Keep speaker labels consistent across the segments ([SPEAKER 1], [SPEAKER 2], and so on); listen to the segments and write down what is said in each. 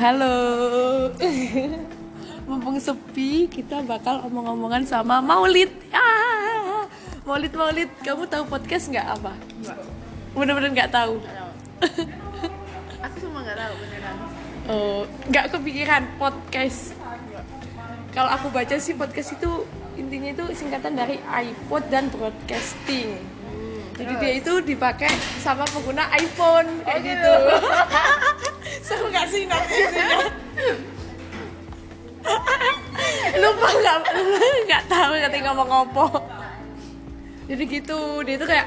[SPEAKER 1] Halo. Mumpung sepi, kita bakal omong-omongan sama Maulid. Ah! Maulid, Maulid, kamu tahu podcast nggak apa?
[SPEAKER 2] Enggak.
[SPEAKER 1] Bener-bener nggak tahu.
[SPEAKER 2] Nggak tahu. Aku cuma nggak tahu beneran.
[SPEAKER 1] Oh, nggak kepikiran podcast. Kalau aku baca sih podcast itu intinya itu singkatan dari iPod dan broadcasting. Jadi dia itu dipakai sama pengguna iPhone kayak
[SPEAKER 2] Oh,
[SPEAKER 1] gitu.
[SPEAKER 2] gitu.
[SPEAKER 1] Seru nggak sih nantinya? Lupa nggak nggak tahu nanti ngomong apa. Jadi gitu dia itu kayak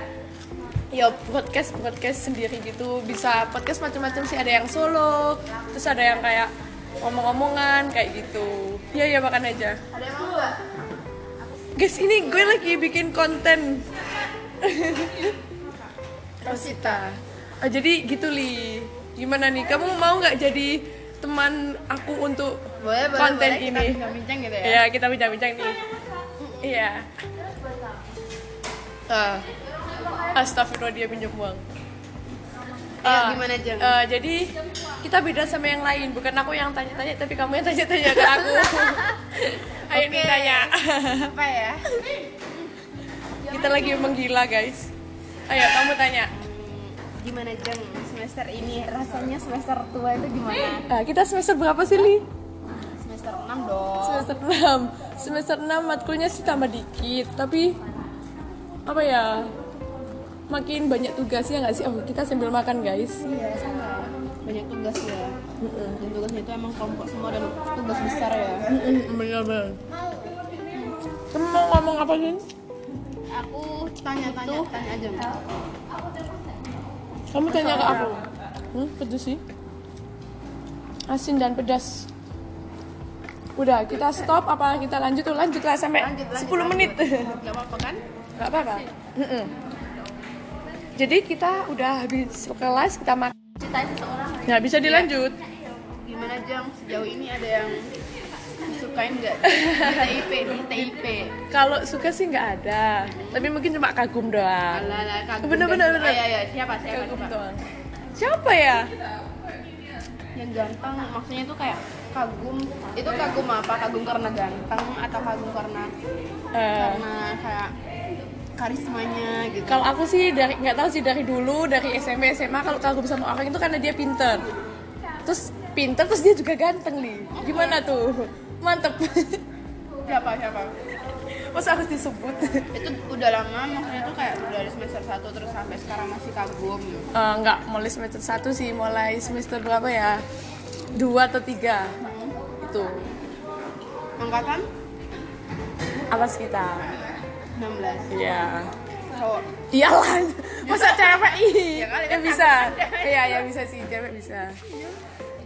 [SPEAKER 1] ya podcast podcast sendiri gitu bisa podcast macam-macam sih ada yang solo terus ada yang kayak ngomong-ngomongan kayak gitu iya iya makan aja
[SPEAKER 2] Ada yang mau nggak?
[SPEAKER 1] guys ini gue lagi bikin konten Rosita oh, jadi gitu li gimana nih kamu mau nggak jadi teman aku untuk
[SPEAKER 2] Boleh, boleh.
[SPEAKER 1] konten
[SPEAKER 2] boleh.
[SPEAKER 1] ini
[SPEAKER 2] Kita bincang gitu ya.
[SPEAKER 1] ya kita bincang-bincang nih iya
[SPEAKER 2] Ah.
[SPEAKER 1] Astagfirullah dia pinjam uang.
[SPEAKER 2] Ayo,
[SPEAKER 1] Ah,
[SPEAKER 2] gimana, Jeng?
[SPEAKER 1] eh, jadi kita beda sama yang lain, bukan aku yang tanya-tanya tapi kamu yang tanya-tanya ke aku. Ayo nih
[SPEAKER 2] Oke.
[SPEAKER 1] tanya.
[SPEAKER 2] Apa ya?
[SPEAKER 1] kita lagi menggila guys. Ayo kamu tanya.
[SPEAKER 2] Gimana Jeng semester ini? Rasanya semester tua itu gimana?
[SPEAKER 1] Nah, kita semester berapa sih, Li?
[SPEAKER 2] Semester 6 dong.
[SPEAKER 1] Semester 6. Semester 6 matkulnya sih tambah dikit, tapi apa ya? Makin banyak tugasnya nggak sih? Oh, kita sambil makan, guys.
[SPEAKER 2] Iya, sama. Banyak tugas ya. Dan tugasnya itu emang kelompok semua dan tugas besar ya.
[SPEAKER 1] Bener-bener. Kamu mau ngomong apa sih?
[SPEAKER 2] Aku tanya-tanya, tanya aja. Mbak.
[SPEAKER 1] Kamu tanya ke aku. Hmm, pedes sih. Asin dan pedas. Udah, kita stop apa kita lanjut tuh lanjutlah sampai
[SPEAKER 2] Lanjut, lanjut,
[SPEAKER 1] 10
[SPEAKER 2] lanjut.
[SPEAKER 1] menit.
[SPEAKER 2] Gak apa-apa kan?
[SPEAKER 1] Enggak apa-apa. Mm-mm. Jadi kita udah habis kelas kita makan.
[SPEAKER 2] Ceritain seseorang.
[SPEAKER 1] Nggak bisa dilanjut.
[SPEAKER 2] Gimana Jeng sejauh ini ada yang disukain nggak? Di TIP, di TIP.
[SPEAKER 1] Kalau suka sih nggak ada. Tapi mungkin cuma kagum doang.
[SPEAKER 2] Alah, alah, kagum.
[SPEAKER 1] Bener, bener,
[SPEAKER 2] Jeng.
[SPEAKER 1] bener.
[SPEAKER 2] Ayo, ayo, iya, siapa, siapa,
[SPEAKER 1] Kagum
[SPEAKER 2] siapa?
[SPEAKER 1] doang. Siapa ya?
[SPEAKER 2] Yang ganteng, maksudnya itu kayak kagum. Itu kagum apa? Kagum karena ganteng atau kagum karena
[SPEAKER 1] Eh,
[SPEAKER 2] karena kayak karismanya gitu?
[SPEAKER 1] kalau aku sih dari nggak tahu sih dari dulu dari SMP SMA kalau kagum sama orang itu karena dia pinter terus pinter terus dia juga ganteng nih gimana tuh mantep
[SPEAKER 2] Siapa, siapa?
[SPEAKER 1] masa harus disebut
[SPEAKER 2] Itu udah lama, maksudnya itu kayak udah dari semester 1 terus sampai sekarang masih kagum.
[SPEAKER 1] Eh, nggak mulai semester 1 sih mulai semester berapa ya dua atau tiga gitu. itu
[SPEAKER 2] Angkatan
[SPEAKER 1] awas kita
[SPEAKER 2] 16.
[SPEAKER 1] Iya
[SPEAKER 2] Cowok.
[SPEAKER 1] iyalah masa cewek ih
[SPEAKER 2] Ya kali,
[SPEAKER 1] ya
[SPEAKER 2] kan
[SPEAKER 1] bisa iya ya bisa sih cewek bisa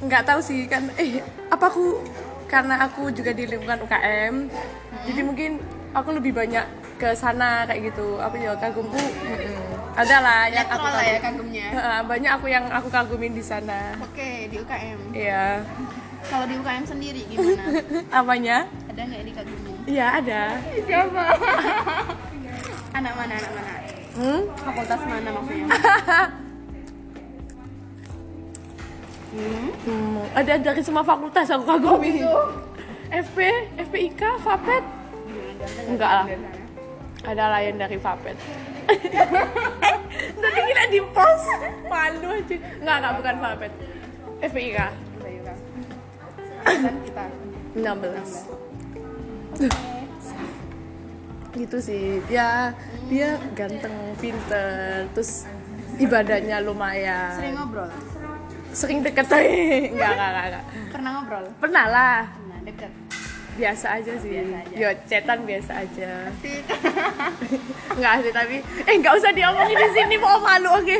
[SPEAKER 1] nggak tahu sih kan eh apa aku karena aku juga di lingkungan UKM
[SPEAKER 2] Hmm.
[SPEAKER 1] jadi mungkin aku lebih banyak ke sana kayak gitu apa ya kagumku mm-mm. ada lah yang aku
[SPEAKER 2] Hmm. Netral lah ya
[SPEAKER 1] kagum.
[SPEAKER 2] kagumnya.
[SPEAKER 1] Heeh, banyak aku yang aku kagumin di sana
[SPEAKER 2] Oke, di UKM.
[SPEAKER 1] iya
[SPEAKER 2] Kalau di UKM sendiri gimana?
[SPEAKER 1] apanya
[SPEAKER 2] Ada nggak yang dikagumin?
[SPEAKER 1] iya ada
[SPEAKER 2] Siapa? anak mana, anak mana?
[SPEAKER 1] hmm?
[SPEAKER 2] Fakultas mana maksudnya? hmm?
[SPEAKER 1] Hmm, ada dari semua fakultas aku kagumi
[SPEAKER 2] gitu.
[SPEAKER 1] FP FPIK Fapet
[SPEAKER 2] Gimana, ganteng
[SPEAKER 1] E enggak
[SPEAKER 2] nggak
[SPEAKER 1] lah
[SPEAKER 2] dari sana?
[SPEAKER 1] ada layan dari Vapet nanti kita di post malu aja nggak nggak bukan Vapet FPIK
[SPEAKER 2] Dari UKM. Angkatan kita.
[SPEAKER 1] 16 gitu sih ya dia ganteng pinter terus ibadahnya
[SPEAKER 2] Sering
[SPEAKER 1] lumayan
[SPEAKER 2] ngobrol?
[SPEAKER 1] sering deket eh. nggak nggak nggak nggak.
[SPEAKER 2] Pernah ngobrol? Nah,
[SPEAKER 1] pernah lah
[SPEAKER 2] Pernah, deket.
[SPEAKER 1] biasa aja sih
[SPEAKER 2] Biasa aja.
[SPEAKER 1] yo cetan biasa aja
[SPEAKER 2] Asik.
[SPEAKER 1] nggak sih tapi eh nggak usah diomongin di sini mau malu oke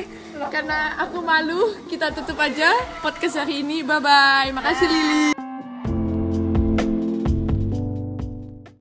[SPEAKER 1] karena aku malu kita tutup aja podcast hari ini bye bye makasih Lili